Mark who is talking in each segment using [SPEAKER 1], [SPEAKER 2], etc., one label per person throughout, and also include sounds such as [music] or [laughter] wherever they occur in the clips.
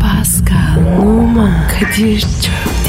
[SPEAKER 1] Pascal, Oman, Kadir çok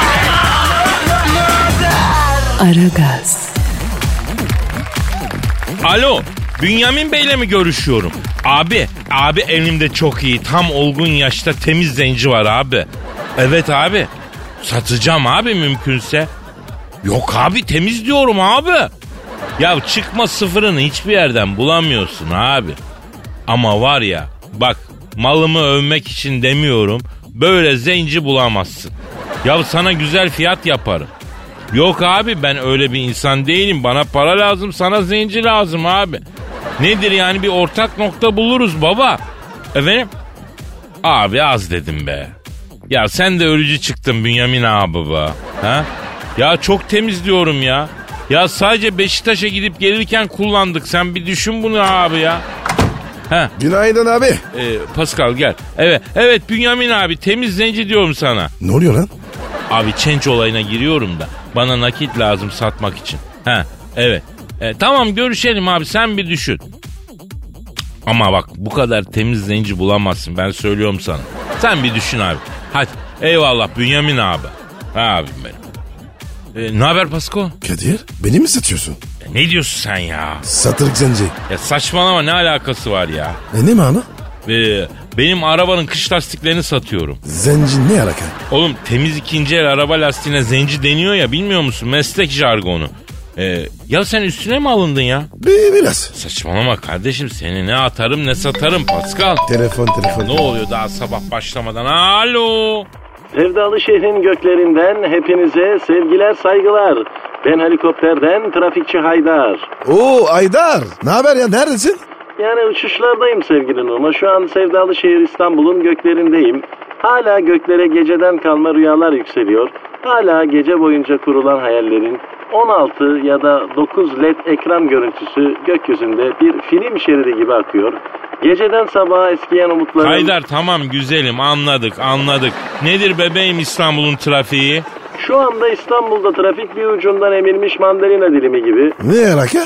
[SPEAKER 1] Aragaz,
[SPEAKER 2] Alo, Bünyamin Bey'le mi görüşüyorum? Abi, abi elimde çok iyi, tam olgun yaşta temiz zenci var abi. Evet abi, satacağım abi mümkünse. Yok abi temiz diyorum abi. Ya çıkma sıfırını hiçbir yerden bulamıyorsun abi. Ama var ya, bak malımı övmek için demiyorum, böyle zenci bulamazsın. Ya sana güzel fiyat yaparım. Yok abi ben öyle bir insan değilim. Bana para lazım, sana zenci lazım abi. Nedir yani bir ortak nokta buluruz baba. Efendim? Abi az dedim be. Ya sen de ölücü çıktın Bünyamin abi baba. Ha? Ya çok temiz diyorum ya. Ya sadece Beşiktaş'a gidip gelirken kullandık. Sen bir düşün bunu abi ya. Ha,
[SPEAKER 3] Günaydın abi.
[SPEAKER 2] e, Pascal gel. Evet, evet Bünyamin abi temiz zenci diyorum sana.
[SPEAKER 3] Ne oluyor lan?
[SPEAKER 2] Abi çenç olayına giriyorum da bana nakit lazım satmak için. Ha evet. E, tamam görüşelim abi sen bir düşün. Ama bak bu kadar temiz zenci bulamazsın ben söylüyorum sana. Sen bir düşün abi. Hadi eyvallah Bünyamin abi. Ha abim benim. E, ne haber Pasko?
[SPEAKER 3] Kadir beni mi satıyorsun?
[SPEAKER 2] E, ne diyorsun sen ya?
[SPEAKER 3] Satırık zenci.
[SPEAKER 2] Ya saçmalama ne alakası var ya?
[SPEAKER 3] E ne mana?
[SPEAKER 2] E, benim arabanın kış lastiklerini satıyorum.
[SPEAKER 3] Zenci ne alaka?
[SPEAKER 2] Oğlum temiz ikinci el araba lastiğine zenci deniyor ya bilmiyor musun? Meslek jargonu. Ee, ya sen üstüne mi alındın ya?
[SPEAKER 3] Bir, biraz.
[SPEAKER 2] Saçmalama kardeşim seni ne atarım ne satarım Pascal.
[SPEAKER 3] Telefon telefon.
[SPEAKER 2] Ne oluyor daha sabah başlamadan? Alo.
[SPEAKER 4] Sevdalı şehrin göklerinden hepinize sevgiler saygılar. Ben helikopterden trafikçi Haydar.
[SPEAKER 3] Oo Aydar. Ne haber ya neredesin?
[SPEAKER 4] Yani uçuşlardayım sevgili Nurma. Şu an sevdalı şehir İstanbul'un göklerindeyim. Hala göklere geceden kalma rüyalar yükseliyor. Hala gece boyunca kurulan hayallerin 16 ya da 9 led ekran görüntüsü gökyüzünde bir film şeridi gibi akıyor. Geceden sabaha eskiyen umutların...
[SPEAKER 2] Haydar tamam güzelim anladık anladık. Nedir bebeğim İstanbul'un trafiği?
[SPEAKER 4] Şu anda İstanbul'da trafik bir ucundan emilmiş mandalina dilimi gibi.
[SPEAKER 3] Ne alaka?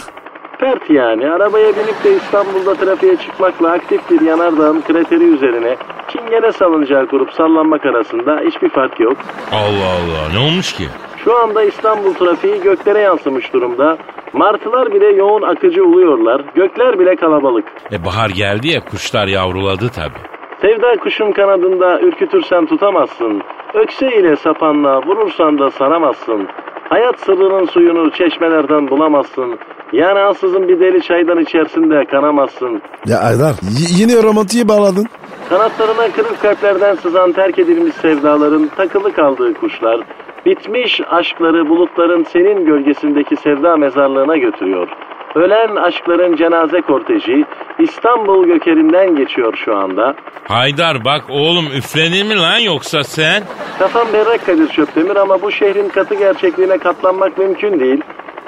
[SPEAKER 4] Pert yani. Arabaya binip de İstanbul'da trafiğe çıkmakla aktif bir yanardağın krateri üzerine çingene salınacağı kurup sallanmak arasında hiçbir fark yok.
[SPEAKER 2] Allah Allah ne olmuş ki?
[SPEAKER 4] Şu anda İstanbul trafiği göklere yansımış durumda. Martılar bile yoğun akıcı uluyorlar. Gökler bile kalabalık.
[SPEAKER 2] E bahar geldi ya kuşlar yavruladı tabi.
[SPEAKER 4] Sevda kuşun kanadında ürkütürsen tutamazsın. Ökse ile sapanla vurursan da saramazsın. Hayat sırrının suyunu çeşmelerden bulamazsın. Yani ansızın bir deli çaydan içersin de kanamazsın.
[SPEAKER 3] Ya Aydar y- yine romantiği bağladın.
[SPEAKER 4] Kanatlarına kırık kalplerden sızan terk edilmiş sevdaların takılı kaldığı kuşlar, bitmiş aşkları bulutların senin gölgesindeki sevda mezarlığına götürüyor. Ölen aşkların cenaze korteji İstanbul gökerinden geçiyor şu anda.
[SPEAKER 2] Haydar bak oğlum üflenir mi lan yoksa sen?
[SPEAKER 4] Kafam berrak Kadir Çöptemir ama bu şehrin katı gerçekliğine katlanmak mümkün değil.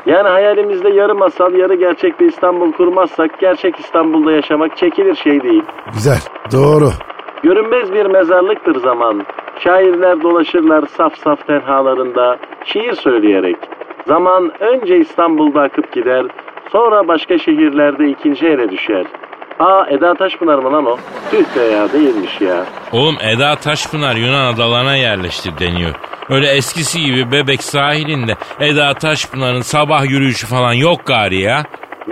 [SPEAKER 4] Yani hayalimizde yarı masal yarı gerçek bir İstanbul kurmazsak gerçek İstanbul'da yaşamak çekilir şey değil.
[SPEAKER 3] Güzel. Doğru.
[SPEAKER 4] Görünmez bir mezarlıktır zaman. Şairler dolaşırlar saf saf tenhalarında şiir söyleyerek. Zaman önce İstanbul'da akıp gider, sonra başka şehirlerde ikinci ele düşer. Aa Eda Taşpınar mı lan o? Tüh be ya değilmiş ya.
[SPEAKER 2] Oğlum Eda Taşpınar Yunan adalarına yerleşti deniyor. Öyle eskisi gibi bebek sahilinde Eda Taşpınar'ın sabah yürüyüşü falan yok gari ya.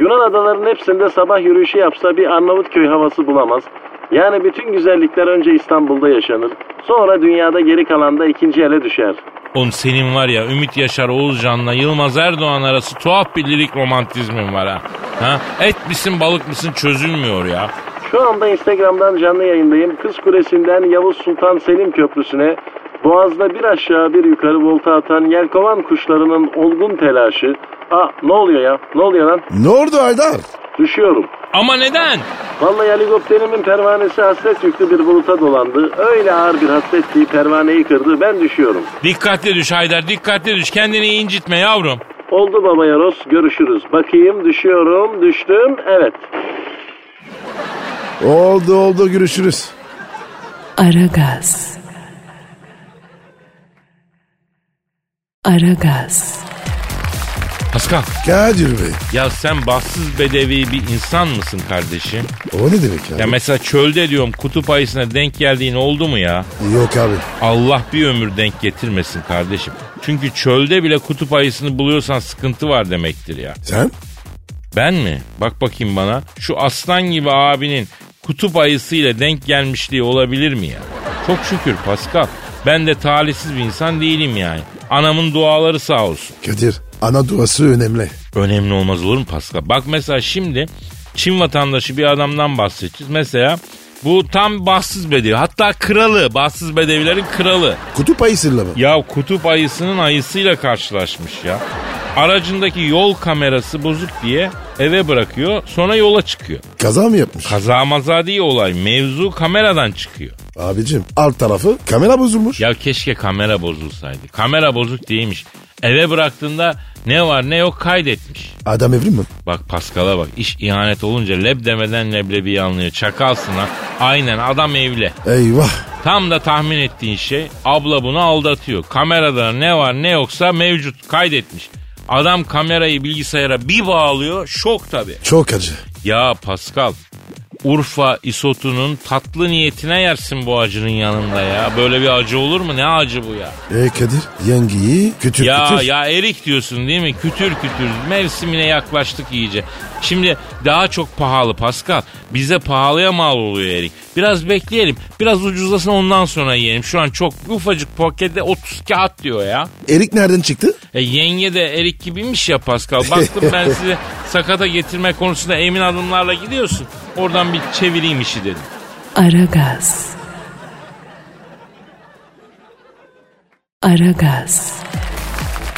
[SPEAKER 4] Yunan adalarının hepsinde sabah yürüyüşü yapsa bir Arnavutköy havası bulamaz. Yani bütün güzellikler önce İstanbul'da yaşanır. Sonra dünyada geri kalanda ikinci ele düşer.
[SPEAKER 2] Oğlum senin var ya Ümit Yaşar Oğuzcan'la Yılmaz Erdoğan arası tuhaf bir lirik romantizmin var ha. ha? Et misin balık mısın çözülmüyor ya.
[SPEAKER 4] Şu anda Instagram'dan canlı yayındayım. Kız Kulesi'nden Yavuz Sultan Selim Köprüsü'ne Boğaz'da bir aşağı bir yukarı volta atan yelkovan kuşlarının olgun telaşı. Aa ne oluyor ya? Ne oluyor lan?
[SPEAKER 3] Ne oldu Aydar?
[SPEAKER 4] Düşüyorum.
[SPEAKER 2] Ama neden?
[SPEAKER 4] Vallahi helikopterimin pervanesi hasret yüklü bir buluta dolandı. Öyle ağır bir hasret ki pervaneyi kırdı. Ben düşüyorum.
[SPEAKER 2] Dikkatli düş Haydar dikkatli düş kendini incitme yavrum.
[SPEAKER 4] Oldu baba Yaros. Görüşürüz. Bakayım düşüyorum. Düştüm. Evet.
[SPEAKER 3] Oldu oldu görüşürüz.
[SPEAKER 1] Aragaz. Aragaz.
[SPEAKER 2] Pascal
[SPEAKER 3] Kadir Bey.
[SPEAKER 2] ya sen bahtsız bedevi bir insan mısın kardeşim?
[SPEAKER 3] O ne demek ya?
[SPEAKER 2] Ya mesela çölde diyorum kutup ayısına denk geldiğin oldu mu ya?
[SPEAKER 3] Yok abi.
[SPEAKER 2] Allah bir ömür denk getirmesin kardeşim. Çünkü çölde bile kutup ayısını buluyorsan sıkıntı var demektir ya.
[SPEAKER 3] Sen?
[SPEAKER 2] Ben mi? Bak bakayım bana. Şu aslan gibi abinin kutup ayısıyla denk gelmişliği olabilir mi ya? Çok şükür Pascal. Ben de talihsiz bir insan değilim yani. Anamın duaları sağ olsun.
[SPEAKER 3] Kadir ana duası önemli.
[SPEAKER 2] Önemli olmaz olur mu Pascal? Bak mesela şimdi Çin vatandaşı bir adamdan bahsedeceğiz. Mesela bu tam bahtsız bedevi. Hatta kralı. Bahtsız bedevilerin kralı.
[SPEAKER 3] Kutup ayısıyla mı?
[SPEAKER 2] Ya kutup ayısının ayısıyla karşılaşmış ya. Aracındaki yol kamerası bozuk diye eve bırakıyor sonra yola çıkıyor.
[SPEAKER 3] Kaza mı yapmış?
[SPEAKER 2] Kaza maza değil olay mevzu kameradan çıkıyor.
[SPEAKER 3] Abicim alt tarafı kamera bozulmuş.
[SPEAKER 2] Ya keşke kamera bozulsaydı. Kamera bozuk değilmiş. Eve bıraktığında ne var ne yok kaydetmiş.
[SPEAKER 3] Adam evrim mi?
[SPEAKER 2] Bak Paskal'a bak iş ihanet olunca leb demeden leblebi anlıyor. Çakalsın ha. Aynen adam evli.
[SPEAKER 3] Eyvah.
[SPEAKER 2] Tam da tahmin ettiğin şey abla bunu aldatıyor. Kamerada ne var ne yoksa mevcut kaydetmiş. Adam kamerayı bilgisayara bir bağlıyor şok tabii.
[SPEAKER 3] Çok acı.
[SPEAKER 2] Ya Pascal Urfa isotunun tatlı niyetine yersin bu acının yanında ya. Böyle bir acı olur mu? Ne acı bu ya?
[SPEAKER 3] E Kadir yengeyi kütür
[SPEAKER 2] ya
[SPEAKER 3] kütür.
[SPEAKER 2] ya erik diyorsun değil mi? Kütür kütür. Mevsimine yaklaştık iyice. Şimdi daha çok pahalı Pascal. Bize pahalıya mal oluyor erik. Biraz bekleyelim. Biraz ucuzlasın ondan sonra yiyelim. Şu an çok ufacık pakette 30 kağıt diyor ya.
[SPEAKER 3] Erik nereden çıktı?
[SPEAKER 2] E, yenge de erik gibiymiş ya Pascal. Baktım
[SPEAKER 3] [laughs]
[SPEAKER 2] ben sizi sakata getirme konusunda emin adımlarla gidiyorsun. Oradan bir çevireyim işi dedim.
[SPEAKER 1] Aragaz. Aragaz.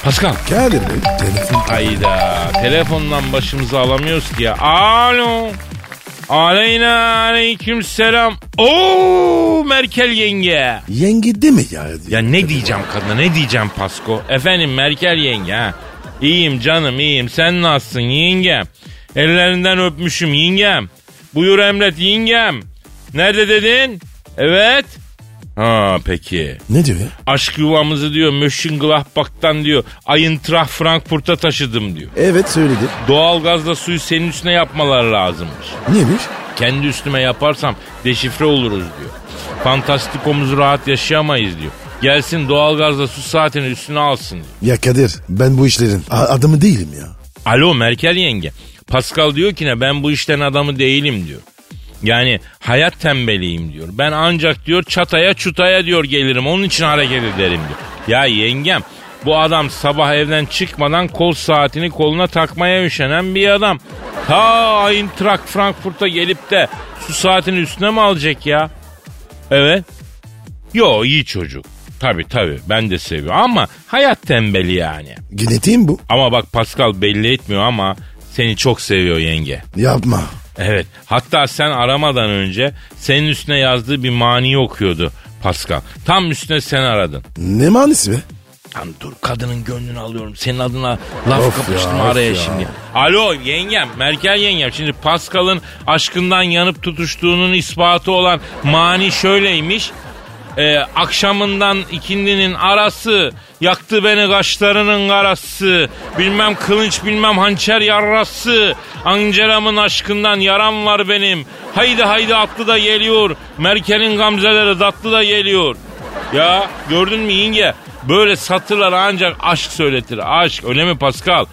[SPEAKER 2] Pascal.
[SPEAKER 3] Kadir Bey. Telefon.
[SPEAKER 2] Hayda. Telefondan başımızı alamıyoruz ki ya. Alo. Aleyna aleyküm selam. Oo Merkel yenge.
[SPEAKER 3] Yenge deme ya.
[SPEAKER 2] Ya ne diyeceğim kadına ne diyeceğim Pasko? Efendim Merkel yenge ha. İyiyim canım iyiyim sen nasılsın yengem? Ellerinden öpmüşüm yengem. Buyur emret yengem. Nerede dedin? Evet. Ha peki.
[SPEAKER 3] Ne diyor ya?
[SPEAKER 2] Aşk yuvamızı diyor Mönchengladbach'tan diyor Eintracht Frankfurt'a taşıdım diyor.
[SPEAKER 3] Evet söyledi.
[SPEAKER 2] Doğalgazla suyu senin üstüne yapmalar lazımmış.
[SPEAKER 3] Neymiş?
[SPEAKER 2] Kendi üstüme yaparsam deşifre oluruz diyor. Fantastikomuzu rahat yaşayamayız diyor. Gelsin doğalgazla su saatini üstüne alsın diyor.
[SPEAKER 3] Ya Kadir ben bu işlerin a- adamı değilim ya.
[SPEAKER 2] Alo Merkel yenge. Pascal diyor ki ne ben bu işten adamı değilim diyor. Yani hayat tembeliyim diyor. Ben ancak diyor çataya çutaya diyor gelirim. Onun için hareket ederim diyor. Ya yengem bu adam sabah evden çıkmadan kol saatini koluna takmaya üşenen bir adam. Ta Eintracht Frankfurt'a gelip de su saatini üstüne mi alacak ya? Evet. Yo iyi çocuk. Tabii tabii ben de seviyorum ama hayat tembeli yani.
[SPEAKER 3] Genetiğim bu.
[SPEAKER 2] Ama bak Pascal belli etmiyor ama seni çok seviyor yenge.
[SPEAKER 3] Yapma.
[SPEAKER 2] Evet. Hatta sen aramadan önce senin üstüne yazdığı bir mani okuyordu Pascal. Tam üstüne sen aradın.
[SPEAKER 3] Ne manisi be?
[SPEAKER 2] Lan dur kadının gönlünü alıyorum. Senin adına laf
[SPEAKER 3] Of
[SPEAKER 2] kapıştırma
[SPEAKER 3] ya, of
[SPEAKER 2] araya
[SPEAKER 3] ya.
[SPEAKER 2] şimdi. Alo yengem, Merkel yengem. Şimdi Pascal'ın aşkından yanıp tutuştuğunun ispatı olan mani şöyleymiş. Ee, akşamından ikindinin arası Yaktı beni kaşlarının karası Bilmem kılınç bilmem hançer yarrası Anceramın aşkından yaram var benim Haydi haydi atlı da geliyor Merkel'in gamzeleri tatlı da geliyor ya gördün mü yenge? Böyle satırlar ancak aşk söyletir. Aşk öyle mi Pascal?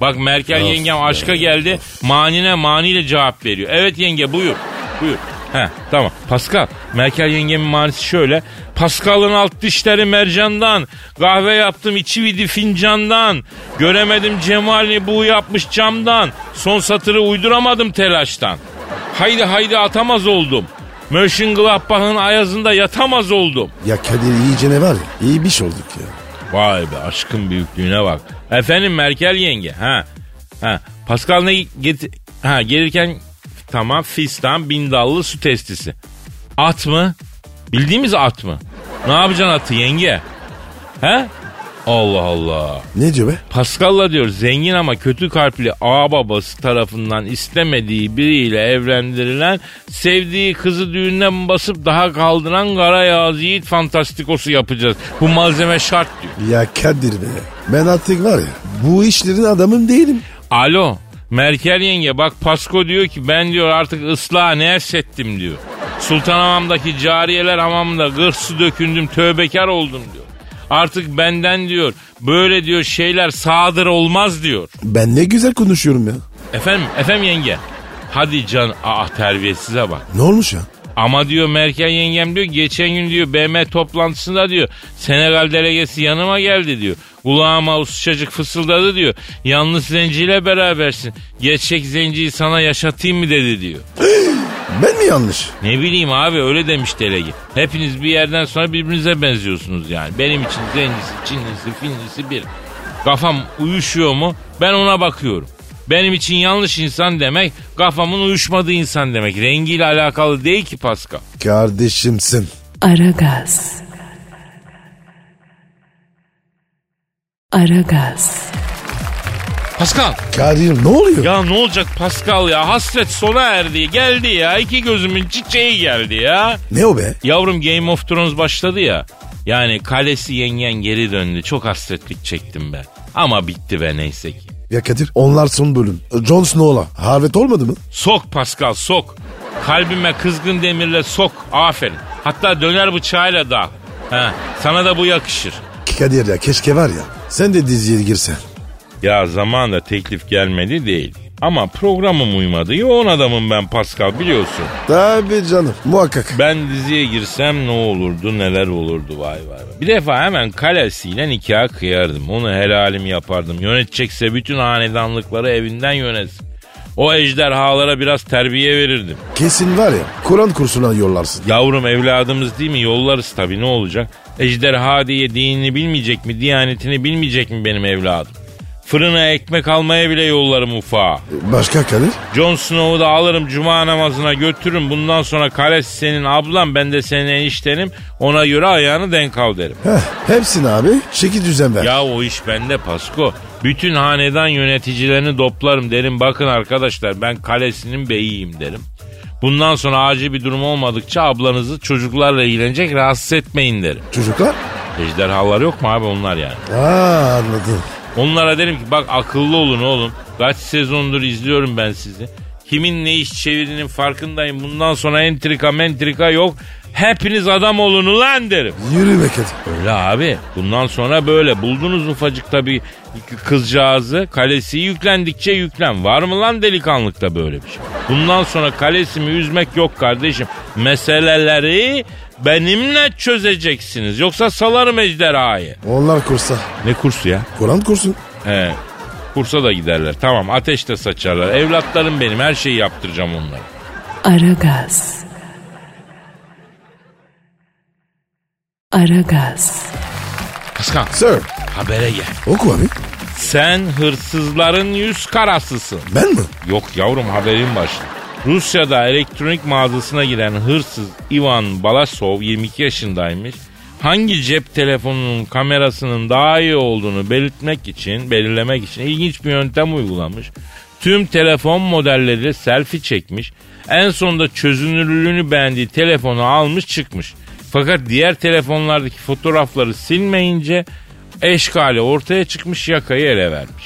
[SPEAKER 2] Bak Merkel yengem aşka geldi. Manine maniyle cevap veriyor. Evet yenge buyur. Buyur. He tamam. Pascal. Merkel yengemin manisi şöyle. Pascal'ın alt dişleri mercandan. Kahve yaptım içi vidi fincandan. Göremedim cemalini bu yapmış camdan. Son satırı uyduramadım telaştan. Haydi haydi atamaz oldum. Mönchengladbach'ın ayazında yatamaz oldum.
[SPEAKER 3] Ya Kadir iyice ne var ya? İyi bir şey olduk ya.
[SPEAKER 2] Vay be aşkın büyüklüğüne bak. Efendim Merkel yenge. Ha. Ha. Pascal ne get ha gelirken tamam fistan bindallı su testisi. At mı? Bildiğimiz at mı? Ne yapacaksın atı yenge? He? Allah Allah.
[SPEAKER 3] Ne diyor be?
[SPEAKER 2] Pascal'la diyor zengin ama kötü kalpli ağababası tarafından istemediği biriyle evlendirilen sevdiği kızı düğünden basıp daha kaldıran kara yağız yiğit fantastikosu yapacağız. Bu malzeme şart diyor.
[SPEAKER 3] Ya Kadir be. Ben artık var ya bu işlerin adamım değilim.
[SPEAKER 2] Alo Merkel yenge bak Pasko diyor ki ben diyor artık ıslaha ne ettim diyor. Sultanhamam'daki cariyeler hamamında gırh su dökündüm tövbekar oldum diyor. Artık benden diyor böyle diyor şeyler sadır olmaz diyor.
[SPEAKER 3] Ben ne güzel konuşuyorum ya.
[SPEAKER 2] Efendim, efendim yenge. Hadi can, ah terbiyesize bak.
[SPEAKER 3] Ne olmuş ya?
[SPEAKER 2] Ama diyor Merkel yengem diyor geçen gün diyor BM toplantısında diyor Senegal delegesi yanıma geldi diyor. Kulağıma usuşacık fısıldadı diyor. Yalnız zenciyle berabersin. Gerçek zenciyi sana yaşatayım mı dedi diyor.
[SPEAKER 3] Ben mi yanlış?
[SPEAKER 2] Ne bileyim abi öyle demiş delege. Hepiniz bir yerden sonra birbirinize benziyorsunuz yani. Benim için zencisi, çinlisi, finlisi bir. Kafam uyuşuyor mu? Ben ona bakıyorum. Benim için yanlış insan demek kafamın uyuşmadığı insan demek. Rengiyle alakalı değil ki Pascal.
[SPEAKER 3] Kardeşimsin.
[SPEAKER 1] Aragaz. Aragaz.
[SPEAKER 2] Pascal.
[SPEAKER 3] Kadir ne oluyor?
[SPEAKER 2] Ya ne olacak Pascal ya? Hasret sona erdi. Geldi ya. İki gözümün çiçeği geldi ya.
[SPEAKER 3] Ne o be?
[SPEAKER 2] Yavrum Game of Thrones başladı ya. Yani kalesi yengen geri döndü. Çok hasretlik çektim ben. Ama bitti be neyse ki.
[SPEAKER 3] Ya Kadir onlar son bölüm. Jon Snow'la. Harvet olmadı mı?
[SPEAKER 2] Sok Pascal sok. Kalbime kızgın demirle sok. Aferin. Hatta döner bıçağıyla da. Ha, sana da bu yakışır.
[SPEAKER 3] Kadir ya keşke var ya. Sen de diziye girsen.
[SPEAKER 2] Ya zamanla teklif gelmedi değil. Ama programım uymadı. Yoğun adamım ben Pascal biliyorsun.
[SPEAKER 3] Tabii canım muhakkak.
[SPEAKER 2] Ben diziye girsem ne olurdu neler olurdu vay vay. vay. Bir defa hemen kalesiyle nikah kıyardım. Onu helalim yapardım. Yönetecekse bütün hanedanlıkları evinden yönetsin. O ejderhalara biraz terbiye verirdim.
[SPEAKER 3] Kesin var ya Kur'an kursuna yollarsın.
[SPEAKER 2] Yavrum evladımız değil mi yollarız tabii ne olacak? Ejderha diye dinini bilmeyecek mi, diyanetini bilmeyecek mi benim evladım? Fırına ekmek almaya bile yollarım ufağa.
[SPEAKER 3] Başka Kadir?
[SPEAKER 2] Jon Snow'u da alırım cuma namazına götürürüm. Bundan sonra kalesi senin ablan ben de senin eniştenim. Ona göre ayağını denk al derim.
[SPEAKER 3] Heh, hepsini abi şekil düzen ver.
[SPEAKER 2] Ya o iş bende Pasko. Bütün hanedan yöneticilerini toplarım derim. Bakın arkadaşlar ben kalesinin beyiyim derim. Bundan sonra acil bir durum olmadıkça ablanızı çocuklarla ilgilenecek rahatsız etmeyin derim.
[SPEAKER 3] Çocuklar?
[SPEAKER 2] Ejderhalar yok mu abi onlar yani?
[SPEAKER 3] Aa anladım.
[SPEAKER 2] Onlara derim ki bak akıllı olun oğlum. Kaç sezondur izliyorum ben sizi. Kimin ne iş çevirinin farkındayım. Bundan sonra entrika mentrika yok. Hepiniz adam olun ulan derim.
[SPEAKER 3] Yürü be Kadir.
[SPEAKER 2] Öyle abi. Bundan sonra böyle. Buldunuz ufacık tabii kızcağızı. Kalesi yüklendikçe yüklen. Var mı lan delikanlıkta böyle bir şey? Bundan sonra kalesimi üzmek yok kardeşim. Meseleleri benimle çözeceksiniz. Yoksa salarım ejderhayı.
[SPEAKER 3] Onlar kursa.
[SPEAKER 2] Ne kursu ya?
[SPEAKER 3] Kur'an kursun.
[SPEAKER 2] He. Kursa da giderler. Tamam ateş de saçarlar. Evlatlarım benim her şeyi yaptıracağım onlara.
[SPEAKER 1] Aragaz. Aragaz.
[SPEAKER 2] Paskal
[SPEAKER 3] Sir
[SPEAKER 2] habere gel.
[SPEAKER 3] oku abi.
[SPEAKER 2] Sen hırsızların yüz karasısın.
[SPEAKER 3] Ben mi?
[SPEAKER 2] Yok yavrum haberin başlı. Rusya'da elektronik mağazasına giren hırsız Ivan Balasov 22 yaşındaymış. Hangi cep telefonunun kamerasının daha iyi olduğunu belirtmek için, belirlemek için ilginç bir yöntem uygulamış. Tüm telefon modelleriyle selfie çekmiş. En sonunda çözünürlüğünü beğendiği telefonu almış çıkmış. Fakat diğer telefonlardaki fotoğrafları silmeyince eşkali ortaya çıkmış yakayı ele vermiş.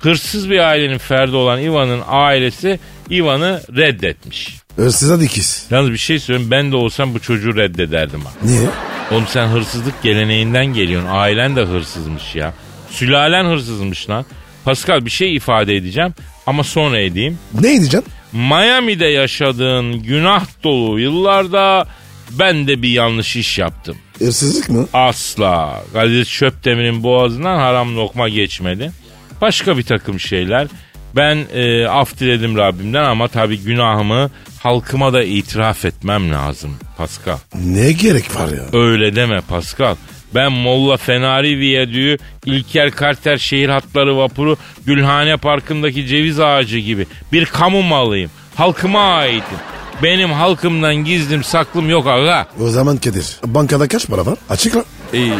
[SPEAKER 2] Hırsız bir ailenin ferdi olan Ivan'ın ailesi Ivan'ı reddetmiş.
[SPEAKER 3] Hırsıza dikiz.
[SPEAKER 2] Yalnız bir şey söyleyeyim ben de olsam bu çocuğu reddederdim ha.
[SPEAKER 3] Niye?
[SPEAKER 2] Oğlum sen hırsızlık geleneğinden geliyorsun. Ailen de hırsızmış ya. Sülalen hırsızmış lan. Pascal bir şey ifade edeceğim ama sonra edeyim.
[SPEAKER 3] Ne edeceksin?
[SPEAKER 2] Miami'de yaşadığın günah dolu yıllarda ben de bir yanlış iş yaptım.
[SPEAKER 3] Hırsızlık mı?
[SPEAKER 2] Asla. Kadir Çöpdemir'in boğazından haram lokma geçmedi. Başka bir takım şeyler. Ben e, af diledim Rabbimden ama tabii günahımı halkıma da itiraf etmem lazım Pascal.
[SPEAKER 3] Ne gerek var ya?
[SPEAKER 2] Öyle deme Pascal. Ben Molla Fenari Viyadüğü, İlker Karter Şehir Hatları Vapuru, Gülhane Parkı'ndaki ceviz ağacı gibi bir kamu malıyım. Halkıma aitim. Benim halkımdan gizlim saklım yok aga.
[SPEAKER 3] O zaman Kadir bankada kaç para var? Açıkla.
[SPEAKER 2] Ee,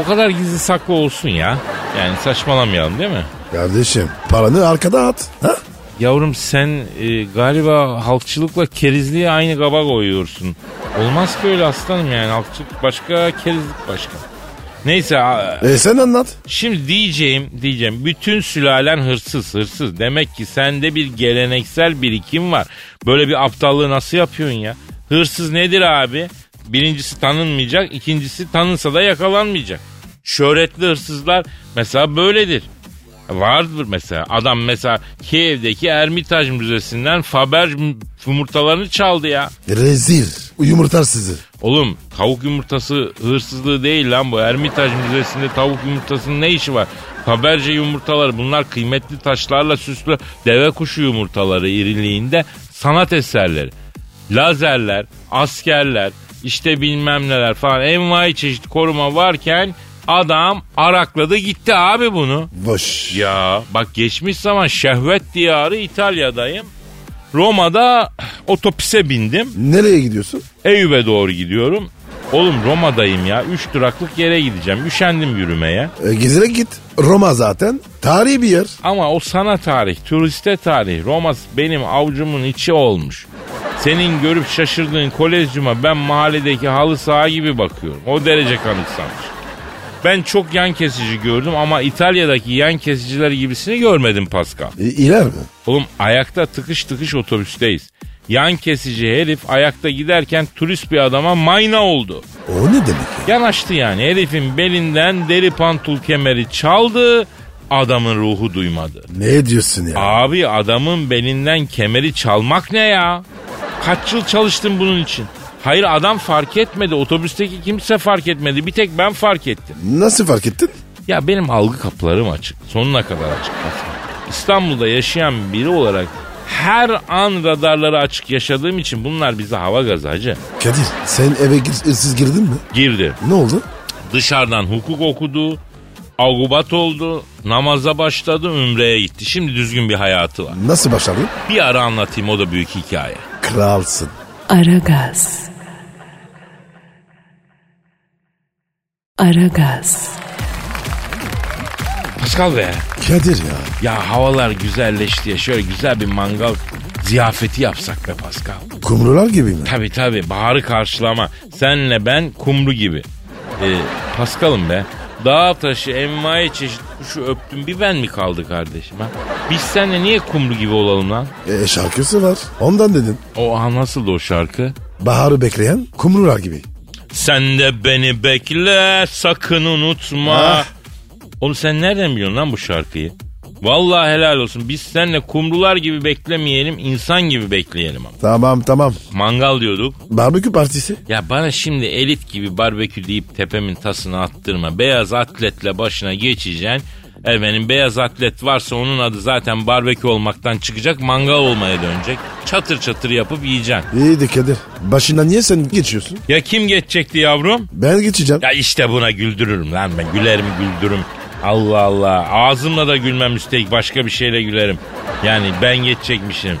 [SPEAKER 2] o kadar gizli saklı olsun ya. Yani saçmalamayalım değil mi?
[SPEAKER 3] Kardeşim paranı arkada at. Ha?
[SPEAKER 2] Yavrum sen e, galiba halkçılıkla kerizliği aynı kaba koyuyorsun. Olmaz ki öyle aslanım yani. Halkçılık başka, kerizlik başka. Neyse a-
[SPEAKER 3] E sen anlat.
[SPEAKER 2] Şimdi diyeceğim, diyeceğim. Bütün sülalen hırsız, hırsız. Demek ki sende bir geleneksel birikim var. Böyle bir aptallığı nasıl yapıyorsun ya? Hırsız nedir abi? Birincisi tanınmayacak, ikincisi tanınsa da yakalanmayacak. Şöhretli hırsızlar mesela böyledir. Vardır mesela. Adam mesela Kiev'deki Ermitaj Müzesi'nden Faber yumurtalarını çaldı ya.
[SPEAKER 3] Rezil. Yumurtar sizi.
[SPEAKER 2] Oğlum tavuk yumurtası hırsızlığı değil lan bu. Ermitaj Müzesi'nde tavuk yumurtasının ne işi var? Haberce yumurtaları bunlar kıymetli taşlarla süslü deve kuşu yumurtaları iriliğinde sanat eserleri. Lazerler, askerler, işte bilmem neler falan envai çeşit koruma varken adam arakladı gitti abi bunu.
[SPEAKER 3] Boş.
[SPEAKER 2] Ya bak geçmiş zaman şehvet diyarı İtalya'dayım. Roma'da otopise bindim.
[SPEAKER 3] Nereye gidiyorsun?
[SPEAKER 2] Eyüp'e doğru gidiyorum. Oğlum Roma'dayım ya. Üç duraklık yere gideceğim. Üşendim yürümeye.
[SPEAKER 3] E, gezerek git. Roma zaten. Tarihi bir yer.
[SPEAKER 2] Ama o sana tarih, turiste tarih. Roma benim avcumun içi olmuş. Senin görüp şaşırdığın kolezyuma ben mahalledeki halı saha gibi bakıyorum. O derece kanıksamış. Ben çok yan kesici gördüm ama İtalya'daki yan kesiciler gibisini görmedim Pascal.
[SPEAKER 3] E, iler mi?
[SPEAKER 2] Oğlum ayakta tıkış tıkış otobüsteyiz. Yan kesici herif ayakta giderken turist bir adama mayna oldu.
[SPEAKER 3] O ne demek ya?
[SPEAKER 2] Yanaştı yani herifin belinden deri pantul kemeri çaldı adamın ruhu duymadı.
[SPEAKER 3] Ne diyorsun ya?
[SPEAKER 2] Abi adamın belinden kemeri çalmak ne ya? Kaç yıl çalıştın bunun için? Hayır adam fark etmedi. Otobüsteki kimse fark etmedi. Bir tek ben fark ettim.
[SPEAKER 3] Nasıl fark ettin?
[SPEAKER 2] Ya benim algı kapılarım açık. Sonuna kadar açık. İstanbul'da yaşayan biri olarak her an radarları açık yaşadığım için bunlar bize hava gazı hacı.
[SPEAKER 3] Kadir sen eve gir, ıssız girdin mi?
[SPEAKER 2] Girdi.
[SPEAKER 3] Ne oldu?
[SPEAKER 2] dışarıdan hukuk okudu, agubat oldu, namaza başladı, ümreye gitti. Şimdi düzgün bir hayatı var.
[SPEAKER 3] Nasıl başardın?
[SPEAKER 2] Bir ara anlatayım o da büyük hikaye.
[SPEAKER 3] Kralsın.
[SPEAKER 1] Aragaz. Aragaz.
[SPEAKER 2] Pascal be,
[SPEAKER 3] Kadir ya.
[SPEAKER 2] ya havalar güzelleşti ya şöyle güzel bir mangal ziyafeti yapsak be Pascal.
[SPEAKER 3] Kumrular gibi mi?
[SPEAKER 2] Tabi tabi baharı karşılama. Senle ben kumru gibi. Ee, Pascal'ım be. Dağ taşı, envai çeşit kuşu öptüm. Bir ben mi kaldı kardeşim ha? Biz seninle niye kumru gibi olalım lan?
[SPEAKER 3] E, şarkısı var. Ondan dedim.
[SPEAKER 2] O nasıl o şarkı?
[SPEAKER 3] Baharı bekleyen kumrular gibi.
[SPEAKER 2] Sen de beni bekle sakın unutma.
[SPEAKER 3] Ah.
[SPEAKER 2] Oğlum sen nereden biliyorsun lan bu şarkıyı? Vallahi helal olsun. Biz seninle kumrular gibi beklemeyelim, insan gibi bekleyelim ama.
[SPEAKER 3] Tamam tamam.
[SPEAKER 2] Mangal diyorduk.
[SPEAKER 3] Barbekü partisi.
[SPEAKER 2] Ya bana şimdi elit gibi barbekü deyip tepemin tasını attırma. Beyaz atletle başına geçeceksin. Efendim beyaz atlet varsa onun adı zaten barbekü olmaktan çıkacak, mangal olmaya dönecek. Çatır çatır yapıp yiyeceksin.
[SPEAKER 3] İyi de Kadir. Başına niye sen geçiyorsun?
[SPEAKER 2] Ya kim geçecekti yavrum?
[SPEAKER 3] Ben geçeceğim.
[SPEAKER 2] Ya işte buna güldürürüm lan ben. Gülerim güldürürüm. Allah Allah. Ağzımla da gülmem üstelik başka bir şeyle gülerim. Yani ben geçecekmişim.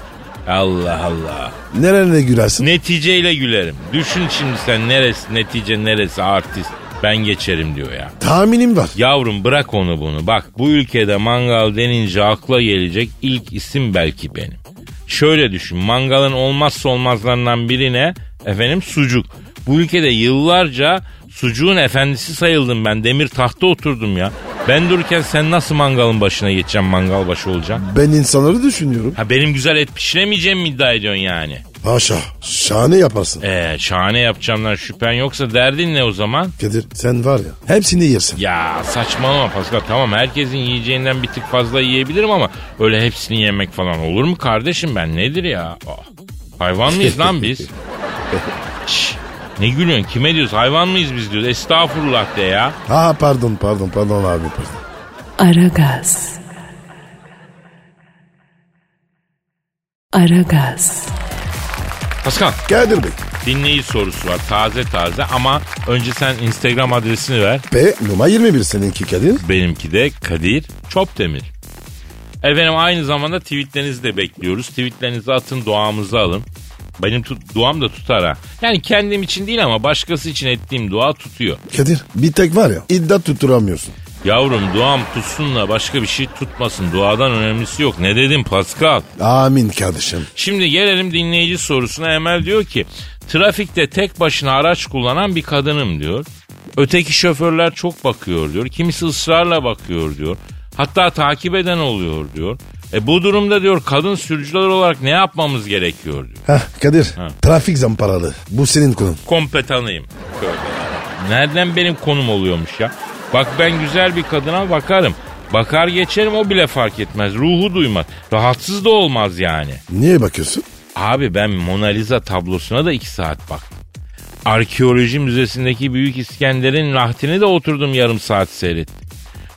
[SPEAKER 2] Allah Allah.
[SPEAKER 3] Nerene gülersin?
[SPEAKER 2] Neticeyle gülerim. Düşün şimdi sen neresi netice neresi artist. Ben geçerim diyor ya.
[SPEAKER 3] Tahminim var.
[SPEAKER 2] Yavrum bırak onu bunu. Bak bu ülkede mangal denince akla gelecek ilk isim belki benim. Şöyle düşün mangalın olmazsa olmazlarından birine efendim sucuk. Bu ülkede yıllarca sucuğun efendisi sayıldım ben. Demir tahta oturdum ya. Ben dururken sen nasıl mangalın başına geçeceğim mangal başı olacaksın?
[SPEAKER 3] Ben insanları düşünüyorum.
[SPEAKER 2] Ha benim güzel et pişiremeyeceğim mi iddia ediyorsun yani?
[SPEAKER 3] Haşa. Şahane yaparsın.
[SPEAKER 2] Ee, şahane yapacağımdan şüphen yoksa derdin ne o zaman?
[SPEAKER 3] Kadir sen var ya. Hepsini yersin.
[SPEAKER 2] Ya saçmalama Pascal tamam herkesin yiyeceğinden bir tık fazla yiyebilirim ama öyle hepsini yemek falan olur mu kardeşim ben nedir ya? Ah, hayvan mıyız lan biz? Şş, ne gülüyorsun kime diyoruz hayvan mıyız biz diyoruz estağfurullah de ya.
[SPEAKER 3] Ha pardon pardon pardon abi pardon.
[SPEAKER 1] Aragaz. Aragaz.
[SPEAKER 2] Pascal
[SPEAKER 3] Kadir Bey.
[SPEAKER 2] dinleyici sorusu var taze taze ama önce sen instagram adresini ver.
[SPEAKER 3] P numara 21 seninki Kadir.
[SPEAKER 2] Benimki de Kadir Çopdemir. Efendim aynı zamanda tweetlerinizi de bekliyoruz. Tweetlerinizi atın duamızı alın. Benim tut, duam da tutar ha. Yani kendim için değil ama başkası için ettiğim dua tutuyor.
[SPEAKER 3] Kadir bir tek var ya iddia tutturamıyorsun.
[SPEAKER 2] Yavrum duam tutsunla başka bir şey tutmasın. Duadan önemlisi yok. Ne dedim Pascal?
[SPEAKER 3] Amin kardeşim.
[SPEAKER 2] Şimdi gelelim dinleyici sorusuna. Emel diyor ki trafikte tek başına araç kullanan bir kadınım diyor. Öteki şoförler çok bakıyor diyor. Kimisi ısrarla bakıyor diyor. Hatta takip eden oluyor diyor. E bu durumda diyor kadın sürücüler olarak ne yapmamız gerekiyor diyor.
[SPEAKER 3] Heh, Kadir trafik zamparalı. Bu senin konun.
[SPEAKER 2] Kompetanıyım. Nereden benim konum oluyormuş ya? Bak ben güzel bir kadına bakarım. Bakar geçerim o bile fark etmez. Ruhu duymaz. Rahatsız da olmaz yani.
[SPEAKER 3] Niye bakıyorsun?
[SPEAKER 2] Abi ben Mona Lisa tablosuna da iki saat baktım. Arkeoloji müzesindeki Büyük İskender'in rahtini de oturdum yarım saat seyrettim.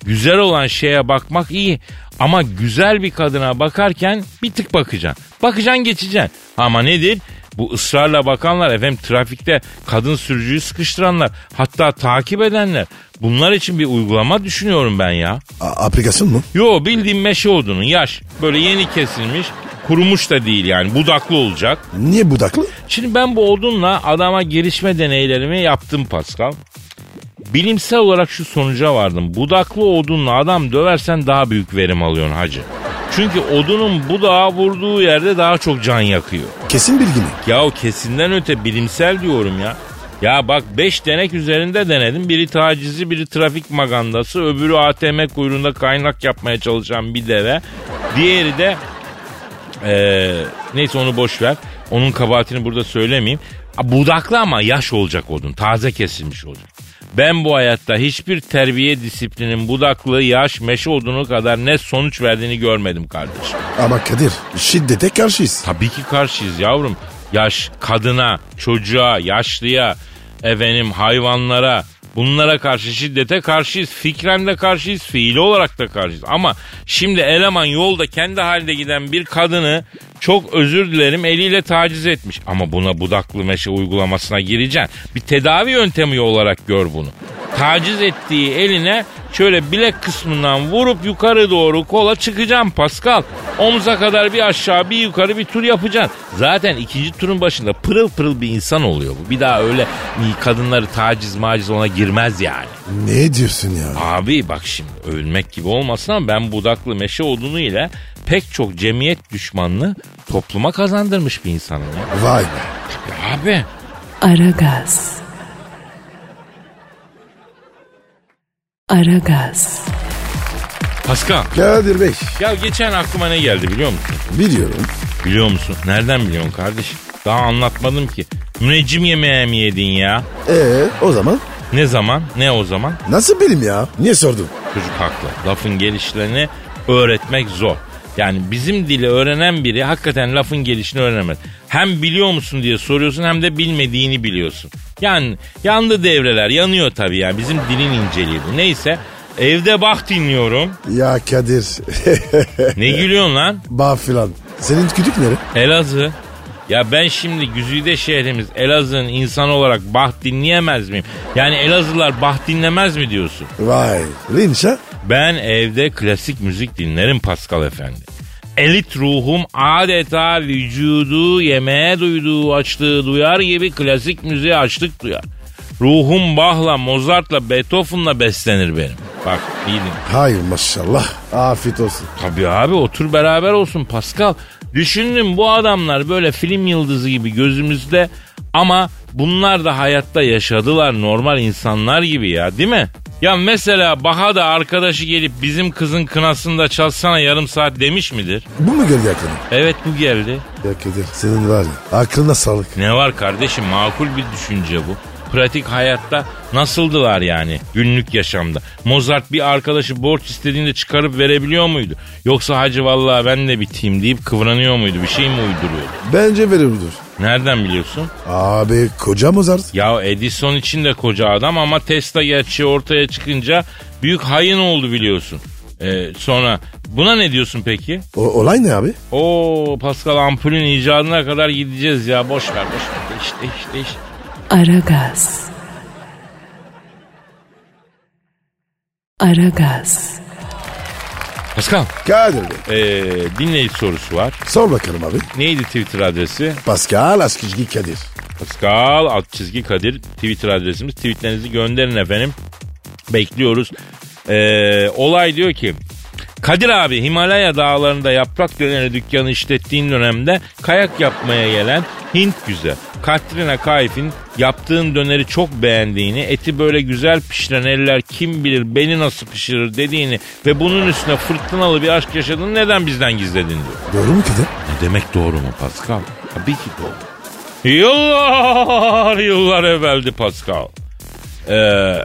[SPEAKER 2] Güzel olan şeye bakmak iyi ama güzel bir kadına bakarken bir tık bakacaksın. Bakacaksın geçeceksin. Ama nedir? Bu ısrarla bakanlar efendim trafikte kadın sürücüyü sıkıştıranlar hatta takip edenler. Bunlar için bir uygulama düşünüyorum ben ya.
[SPEAKER 3] A- aplikasyon mu?
[SPEAKER 2] Yo bildiğin meşe odunun yaş. Böyle yeni kesilmiş. Kurumuş da değil yani budaklı olacak.
[SPEAKER 3] Niye budaklı?
[SPEAKER 2] Şimdi ben bu odunla adama girişme deneylerimi yaptım Pascal. Bilimsel olarak şu sonuca vardım. Budaklı odunla adam döversen daha büyük verim alıyorsun hacı. Çünkü odunun budağa vurduğu yerde daha çok can yakıyor.
[SPEAKER 3] Kesin bilgi mi?
[SPEAKER 2] Yahu kesinden öte bilimsel diyorum ya. Ya bak 5 denek üzerinde denedim. Biri tacizi, biri trafik magandası, öbürü ATM kuyruğunda kaynak yapmaya çalışan bir deve. Diğeri de eee, neyse onu boş ver. Onun kabahatini burada söylemeyeyim. Ha, Budaklı ama yaş olacak odun. Taze kesilmiş odun. Ben bu hayatta hiçbir terbiye disiplinin budaklı, yaş, meşe odunu kadar net sonuç verdiğini görmedim kardeşim.
[SPEAKER 3] Ama Kadir şiddete karşıyız.
[SPEAKER 2] Tabii ki karşıyız yavrum. Yaş kadına, çocuğa, yaşlıya, efendim hayvanlara bunlara karşı şiddete karşıyız. Fikren de karşıyız, fiili olarak da karşıyız. Ama şimdi eleman yolda kendi halinde giden bir kadını çok özür dilerim eliyle taciz etmiş. Ama buna budaklı meşe uygulamasına gireceksin. Bir tedavi yöntemi olarak gör bunu. Taciz ettiği eline şöyle bilek kısmından vurup yukarı doğru kola çıkacaksın Pascal. Omza kadar bir aşağı bir yukarı bir tur yapacaksın. Zaten ikinci turun başında pırıl pırıl bir insan oluyor bu. Bir daha öyle kadınları taciz maciz ona girmez yani.
[SPEAKER 3] Ne diyorsun ya?
[SPEAKER 2] Abi bak şimdi övünmek gibi olmasın ama ben budaklı meşe odunu ile pek çok cemiyet düşmanlığı topluma kazandırmış bir insanım ya.
[SPEAKER 3] Vay be.
[SPEAKER 2] Ya Abi
[SPEAKER 1] Aragaz. Aragaz.
[SPEAKER 2] Pascal
[SPEAKER 3] Kadir Bey
[SPEAKER 2] ya geçen aklıma ne geldi biliyor musun?
[SPEAKER 3] biliyorum.
[SPEAKER 2] Biliyor musun? Nereden biliyorsun kardeşim? Daha anlatmadım ki. Müneccim yemeğe mi yedin ya?
[SPEAKER 3] Ee o zaman
[SPEAKER 2] Ne zaman? Ne o zaman?
[SPEAKER 3] nasıl bilim ya? Niye sordun?
[SPEAKER 2] Çocuk haklı. Lafın gelişlerini öğretmek zor. Yani bizim dili öğrenen biri hakikaten lafın gelişini öğrenemez. Hem biliyor musun diye soruyorsun hem de bilmediğini biliyorsun. Yani yandı devreler yanıyor tabii yani bizim dilin inceliği bu. Neyse evde bak dinliyorum.
[SPEAKER 3] Ya Kadir. [laughs]
[SPEAKER 2] Ne gülüyorsun lan?
[SPEAKER 3] Bağ filan. Senin kütük nere?
[SPEAKER 2] Elazığ. Ya ben şimdi Güzide şehrimiz Elazığ'ın insan olarak bah dinleyemez miyim? Yani Elazığlar bah dinlemez mi diyorsun?
[SPEAKER 3] Vay. Linç ha?
[SPEAKER 2] Ben evde klasik müzik dinlerim Pascal Efendi. Elit ruhum adeta vücudu yemeğe duyduğu açlığı duyar gibi klasik müziğe açlık duyar. Ruhum Bach'la, Mozart'la, Beethoven'la beslenir benim. Bak iyi dinle.
[SPEAKER 3] Hayır maşallah. Afiyet olsun.
[SPEAKER 2] Tabii abi otur beraber olsun Pascal. Düşündüm bu adamlar böyle film yıldızı gibi gözümüzde ama bunlar da hayatta yaşadılar normal insanlar gibi ya değil mi? Ya mesela Baha da arkadaşı gelip bizim kızın kınasında çalsana yarım saat demiş midir?
[SPEAKER 3] Bu mu geldi aklına?
[SPEAKER 2] Evet bu geldi.
[SPEAKER 3] Ya Kadir senin var ya aklına sağlık.
[SPEAKER 2] Ne var kardeşim makul bir düşünce bu. Pratik hayatta nasıldılar yani günlük yaşamda? Mozart bir arkadaşı borç istediğinde çıkarıp verebiliyor muydu? Yoksa hacı vallahi ben de biteyim deyip kıvranıyor muydu? Bir şey mi uyduruyordu?
[SPEAKER 3] Bence verimlidir.
[SPEAKER 2] Nereden biliyorsun?
[SPEAKER 3] Abi koca Mozart.
[SPEAKER 2] Ya Edison için de koca adam ama Tesla gerçeği ortaya çıkınca büyük hayın oldu biliyorsun. Ee, sonra buna ne diyorsun peki?
[SPEAKER 3] O, olay ne abi?
[SPEAKER 2] O Pascal ampulün icadına kadar gideceğiz ya boş ver boş ver. İşte işte işte.
[SPEAKER 1] Aragaz. Aragaz.
[SPEAKER 2] Pascal.
[SPEAKER 3] Kadir Bey
[SPEAKER 2] Ee, dinleyici sorusu var.
[SPEAKER 3] sor bakalım abi.
[SPEAKER 2] Neydi Twitter adresi?
[SPEAKER 3] Pascal Askizgi Kadir.
[SPEAKER 2] Pascal alt çizgi Kadir Twitter adresimiz. Tweetlerinizi gönderin efendim. Bekliyoruz. Ee, olay diyor ki Kadir abi Himalaya dağlarında yaprak döneri dükkanı işlettiğin dönemde kayak yapmaya gelen Hint güzel. Katrina Kaif'in yaptığın döneri çok beğendiğini, eti böyle güzel pişiren eller kim bilir beni nasıl pişirir dediğini ve bunun üstüne fırtınalı bir aşk yaşadığını neden bizden gizledin diyor.
[SPEAKER 3] Doğru mu Kadir?
[SPEAKER 2] Ne demek doğru mu Pascal? Tabii ki doğru. Yıllar yıllar evveldi Pascal. Ee,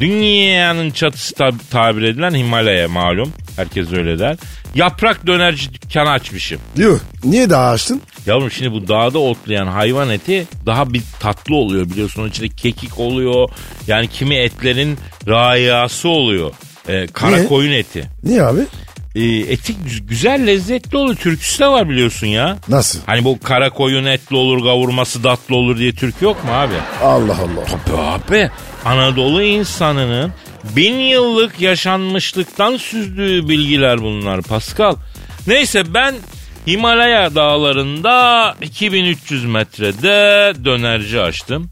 [SPEAKER 2] dünyanın çatısı tab- tabir edilen Himalaya malum. Herkes öyle der. Yaprak dönerci dükkanı açmışım.
[SPEAKER 3] Yuh. Niye daha açtın?
[SPEAKER 2] Yavrum şimdi bu dağda otlayan hayvan eti daha bir tatlı oluyor biliyorsun. Onun içinde kekik oluyor. Yani kimi etlerin rayası oluyor. Ee, kara
[SPEAKER 3] Niye?
[SPEAKER 2] koyun eti.
[SPEAKER 3] Niye abi?
[SPEAKER 2] Ee, eti gü- güzel lezzetli oluyor. Türküsü de var biliyorsun ya.
[SPEAKER 3] Nasıl?
[SPEAKER 2] Hani bu kara koyun etli olur kavurması tatlı olur diye türkü yok mu abi?
[SPEAKER 3] Allah Allah.
[SPEAKER 2] Tabii abi. Anadolu insanının bin yıllık yaşanmışlıktan süzdüğü bilgiler bunlar Pascal. Neyse ben Himalaya dağlarında 2300 metrede dönerci açtım.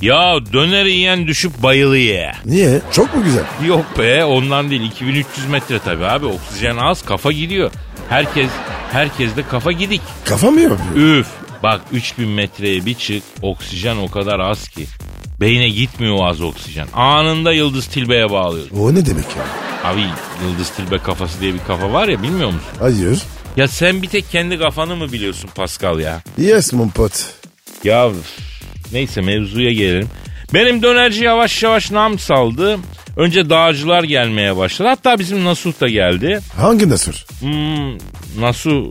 [SPEAKER 2] Ya döneri yiyen düşüp bayılıyor.
[SPEAKER 3] Niye? Çok mu güzel?
[SPEAKER 2] Yok be ondan değil 2300 metre tabii abi oksijen az kafa gidiyor. Herkes herkes de kafa gidik.
[SPEAKER 3] Kafa mı yapıyor?
[SPEAKER 2] Üf bak 3000 metreye bir çık oksijen o kadar az ki. Beyne gitmiyor o az oksijen. Anında Yıldız Tilbe'ye bağlıyor.
[SPEAKER 3] O ne demek ya?
[SPEAKER 2] Abi Yıldız Tilbe kafası diye bir kafa var ya bilmiyor musun?
[SPEAKER 3] Hayır.
[SPEAKER 2] Ya sen bir tek kendi kafanı mı biliyorsun Pascal ya?
[SPEAKER 3] Yes mon pot.
[SPEAKER 2] Ya üf, neyse mevzuya gelelim. Benim dönerci yavaş yavaş nam saldı. Önce dağcılar gelmeye başladı. Hatta bizim Nasuh da geldi.
[SPEAKER 3] Hangi nasır?
[SPEAKER 2] Hmm, Nasuh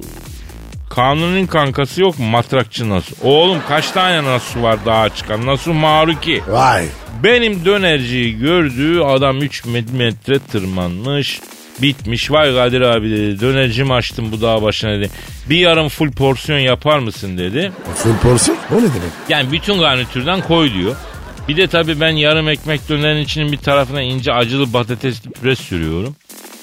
[SPEAKER 2] Kanun'un kankası yok mu? Matrakçı Nasuh. Oğlum kaç tane Nasuh var daha çıkan? Nasuh Maruki.
[SPEAKER 3] Vay.
[SPEAKER 2] Benim dönerciyi gördüğü adam 3 metre tırmanmış. Bitmiş. Vay Kadir abi dedi. Dönercimi açtım bu dağ başına dedi. Bir yarım full porsiyon yapar mısın dedi.
[SPEAKER 3] Full porsiyon? O ne demek?
[SPEAKER 2] Yani bütün garnitürden koy diyor. Bir de tabii ben yarım ekmek dönerin içinin bir tarafına ince acılı patatesli püre sürüyorum.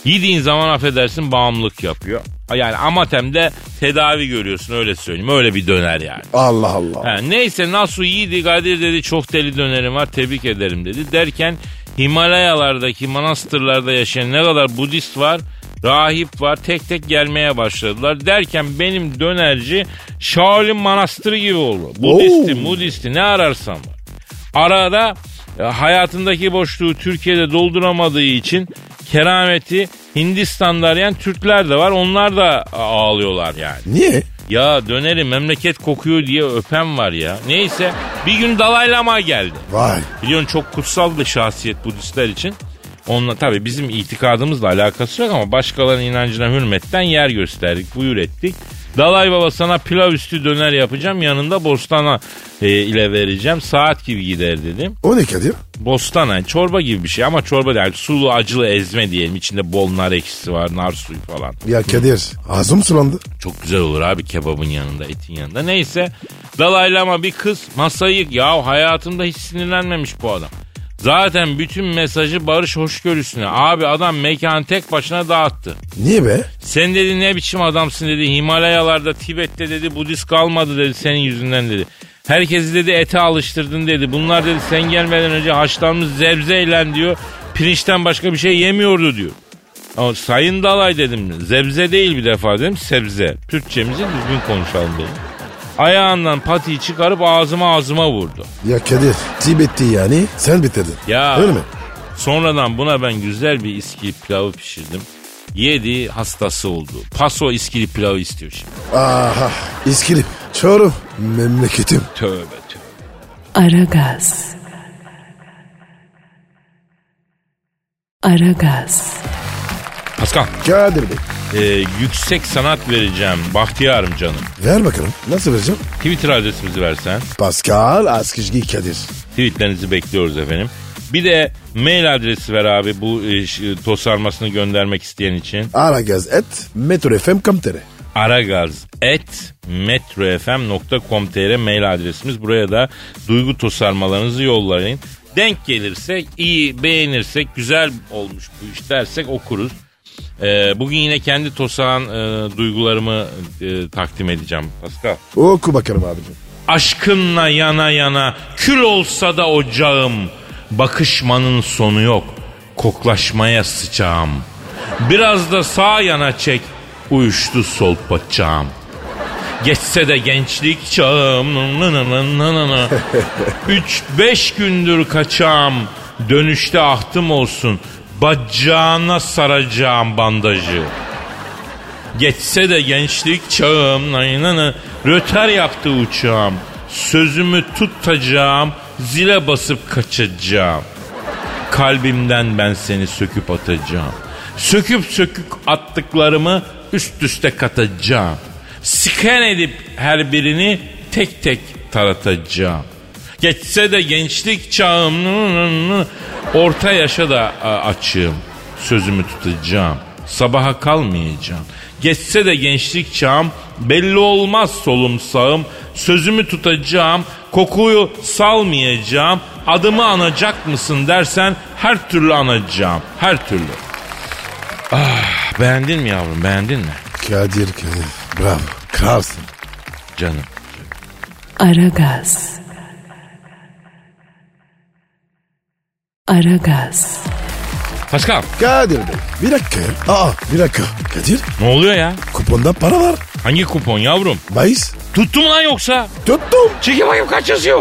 [SPEAKER 2] Yediğin zaman affedersin bağımlılık yapıyor. Yani amatemde tedavi görüyorsun öyle söyleyeyim. Öyle bir döner yani.
[SPEAKER 3] Allah Allah.
[SPEAKER 2] Ha, neyse Nasu iyiydi Kadir dedi çok deli dönerim var tebrik ederim dedi. Derken Himalayalardaki manastırlarda yaşayan ne kadar Budist var rahip var tek tek gelmeye başladılar. Derken benim dönerci Shaolin manastırı gibi oldu. Budisti,
[SPEAKER 3] Oo.
[SPEAKER 2] Mudisti ne ararsan var. Arada e, hayatındaki boşluğu Türkiye'de dolduramadığı için kerameti Hindistan'da arayan Türkler de var. Onlar da a- ağlıyorlar yani.
[SPEAKER 3] Niye?
[SPEAKER 2] Ya döneri memleket kokuyor diye öpen var ya. Neyse bir gün Dalai Lama geldi.
[SPEAKER 3] Vay.
[SPEAKER 2] Biliyorsun çok kutsal bir şahsiyet Budistler için. Onunla tabii bizim itikadımızla alakası yok ama başkalarının inancına hürmetten yer gösterdik, buyur ettik. Dalai Baba sana pilav üstü döner yapacağım yanında bostana e, ile vereceğim saat gibi gider dedim.
[SPEAKER 3] O ne Kadir?
[SPEAKER 2] Bostana yani çorba gibi bir şey ama çorba değil sulu acılı ezme diyelim içinde bol nar ekşisi var nar suyu falan.
[SPEAKER 3] Ya Kadir ağzım sulandı.
[SPEAKER 2] Çok güzel olur abi kebabın yanında, etin yanında. Neyse Dalai Lama bir kız masayı ya hayatımda hiç sinirlenmemiş bu adam. Zaten bütün mesajı barış hoşgörüsüne. Abi adam mekanı tek başına dağıttı.
[SPEAKER 3] Niye be?
[SPEAKER 2] Sen dedi ne biçim adamsın dedi. Himalayalarda, Tibet'te dedi Budist kalmadı dedi senin yüzünden dedi. Herkesi dedi ete alıştırdın dedi. Bunlar dedi sen gelmeden önce haşlanmış zebzeyle diyor. Pirinçten başka bir şey yemiyordu diyor. Ama Sayın Dalay dedim. Zebze değil bir defa dedim. Sebze. Türkçemizi düzgün konuşalım dedim. Ayağından patiyi çıkarıp ağzıma ağzıma vurdu.
[SPEAKER 3] Ya Kadir Tibet'ti yani sen bitirdin.
[SPEAKER 2] Ya.
[SPEAKER 3] Öyle mi?
[SPEAKER 2] Sonradan buna ben güzel bir iskili pilavı pişirdim. Yedi hastası oldu. Paso iskili pilavı istiyor şimdi.
[SPEAKER 3] Aha. İskilip. Çorum. Memleketim.
[SPEAKER 2] Tövbe tövbe.
[SPEAKER 1] Aragaz. Aragaz.
[SPEAKER 2] Paskal.
[SPEAKER 3] Kadir Bey.
[SPEAKER 2] e, yüksek sanat vereceğim Bahtiyar'ım canım.
[SPEAKER 3] Ver bakalım. Nasıl vereceğim?
[SPEAKER 2] Twitter adresimizi versen.
[SPEAKER 3] Pascal Askizgi Kadir.
[SPEAKER 2] Tweetlerinizi bekliyoruz efendim. Bir de mail adresi ver abi bu e, ş- tosarmasını göndermek isteyen için.
[SPEAKER 3] Aragaz et metrofm.com.tr
[SPEAKER 2] aragaz.metrofm.com.tr mail adresimiz. Buraya da duygu tosarmalarınızı yollayın. Denk gelirsek, iyi beğenirsek, güzel olmuş bu iş dersek okuruz. Ee, bugün yine kendi tosağan e, duygularımı e, takdim edeceğim Pascal.
[SPEAKER 3] Oku bakalım abicim.
[SPEAKER 2] Aşkınla yana yana kül olsa da ocağım. Bakışmanın sonu yok. Koklaşmaya sıçağım. Biraz da sağ yana çek. Uyuştu sol bacağım. Geçse de gençlik çağım. nı nı nı nı nı nı. Üç beş gündür kaçağım. Dönüşte ahtım olsun. Bacağına saracağım bandajı. Geçse de gençlik çağım naynanı röter yaptı uçağım. Sözümü tutacağım, zile basıp kaçacağım. Kalbimden ben seni söküp atacağım. Söküp söküp attıklarımı üst üste katacağım. Siken edip her birini tek tek taratacağım. Geçse de gençlik çağım nı nı nı, orta yaşa da a, açığım. Sözümü tutacağım. Sabaha kalmayacağım. Geçse de gençlik çağım belli olmaz solum sağım. Sözümü tutacağım. Kokuyu salmayacağım. Adımı anacak mısın dersen her türlü anacağım. Her türlü. Ah, beğendin mi yavrum beğendin mi?
[SPEAKER 3] Kadir Kadir. Bravo. Kralsın.
[SPEAKER 2] Canım.
[SPEAKER 1] Aragaz. Aragaz.
[SPEAKER 2] Pascal
[SPEAKER 3] Kadir Bey. Bir dakika ya. Aa bir dakika. Kadir
[SPEAKER 2] ne oluyor ya?
[SPEAKER 3] kuponda para var.
[SPEAKER 2] Hangi kupon yavrum?
[SPEAKER 3] Bayis.
[SPEAKER 2] Tuttum lan yoksa?
[SPEAKER 3] Tuttum.
[SPEAKER 2] Çekil bakayım kaç yazıyor?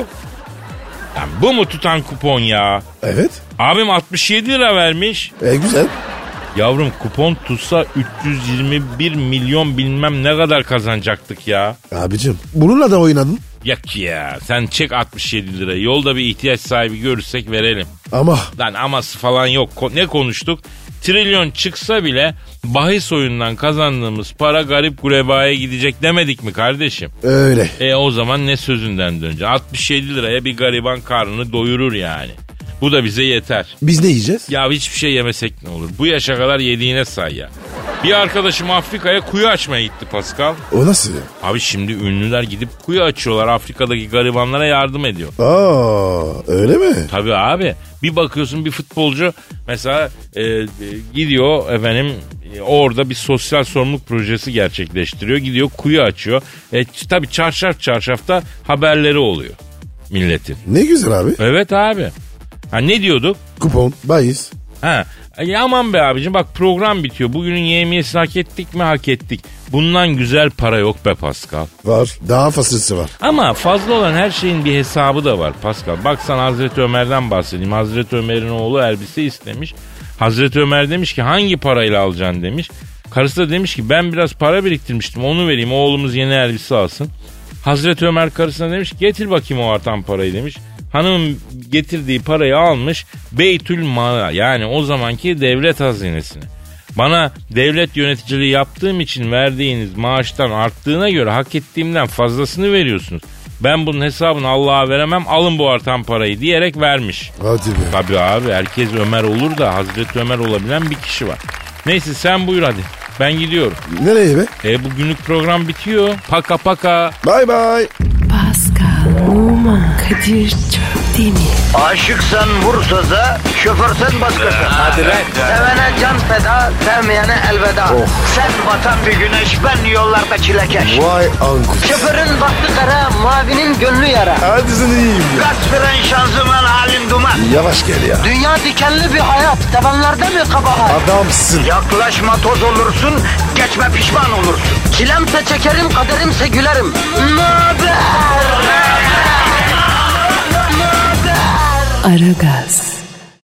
[SPEAKER 2] Lan bu mu tutan kupon ya?
[SPEAKER 3] Evet.
[SPEAKER 2] Abim 67 lira vermiş.
[SPEAKER 3] E güzel.
[SPEAKER 2] Yavrum kupon tutsa 321 milyon bilmem ne kadar kazanacaktık ya.
[SPEAKER 3] Abicim bununla da oynadın.
[SPEAKER 2] Yak ya sen çek 67 lirayı yolda bir ihtiyaç sahibi görürsek verelim.
[SPEAKER 3] Ama
[SPEAKER 2] Lan aması falan yok Ko- ne konuştuk? Trilyon çıksa bile bahis oyundan kazandığımız para garip gurebaya gidecek demedik mi kardeşim?
[SPEAKER 3] öyle.
[SPEAKER 2] E o zaman ne sözünden döneceksin? 67 liraya bir gariban karnını doyurur yani. Bu da bize yeter.
[SPEAKER 3] Biz ne yiyeceğiz?
[SPEAKER 2] Ya hiçbir şey yemesek ne olur? Bu yaşa kadar yediğine say ya. Bir arkadaşım Afrika'ya kuyu açmaya gitti Pascal.
[SPEAKER 3] O nasıl ya?
[SPEAKER 2] Abi şimdi ünlüler gidip kuyu açıyorlar. Afrika'daki garibanlara yardım ediyor.
[SPEAKER 3] Aa öyle mi?
[SPEAKER 2] Tabii abi. Bir bakıyorsun bir futbolcu mesela e, e, gidiyor efendim e, orada bir sosyal sorumluluk projesi gerçekleştiriyor. Gidiyor kuyu açıyor. E, ç- tabii çarşaf çarşafta haberleri oluyor milletin.
[SPEAKER 3] Ne güzel abi.
[SPEAKER 2] Evet abi. Ha ne diyorduk?
[SPEAKER 3] Kupon, bahis.
[SPEAKER 2] Ha. e, aman be abicim bak program bitiyor. Bugünün yemiyesini hak ettik mi hak ettik. Bundan güzel para yok be Pascal.
[SPEAKER 3] Var. Daha fasılsı var.
[SPEAKER 2] Ama fazla olan her şeyin bir hesabı da var Pascal. Baksan Hazreti Ömer'den bahsedeyim. Hazreti Ömer'in oğlu elbise istemiş. Hazreti Ömer demiş ki hangi parayla alacaksın demiş. Karısı da demiş ki ben biraz para biriktirmiştim onu vereyim oğlumuz yeni elbise alsın. Hazreti Ömer karısına demiş ki getir bakayım o artan parayı demiş. Hanımın getirdiği parayı almış Beytül Mala yani o zamanki devlet hazinesine. Bana devlet yöneticiliği yaptığım için verdiğiniz maaştan arttığına göre hak ettiğimden fazlasını veriyorsunuz. Ben bunun hesabını Allah'a veremem alın bu artan parayı diyerek vermiş.
[SPEAKER 3] Hadi be.
[SPEAKER 2] Tabii abi herkes Ömer olur da Hazreti Ömer olabilen bir kişi var. Neyse sen buyur hadi. Ben gidiyorum.
[SPEAKER 3] Nereye be?
[SPEAKER 2] E bugünlük program bitiyor. Paka paka.
[SPEAKER 3] Bay bay.
[SPEAKER 1] Pascal, Oman, Kadir çok değil mi?
[SPEAKER 5] Aşıksan vursa da, şoförsen başkasın. Hadi Sevene can feda, sevmeyene elveda. Sen batan bir güneş, ben yollarda çilekeş.
[SPEAKER 3] Vay anku.
[SPEAKER 5] Şoförün baktı kara, mavinin gönlü yara.
[SPEAKER 3] Hadi sen iyiyim ya.
[SPEAKER 5] Kasperen şanzıman halin duman.
[SPEAKER 3] Yavaş gel ya.
[SPEAKER 5] Dünya dikenli bir hayat, sevenlerde mi kabahar?
[SPEAKER 3] Adamsın.
[SPEAKER 5] Yaklaşma toz olursun, geçme pişman olursun. Çilemse çekerim, kaderimse gülerim. Möber!
[SPEAKER 1] Aragaz.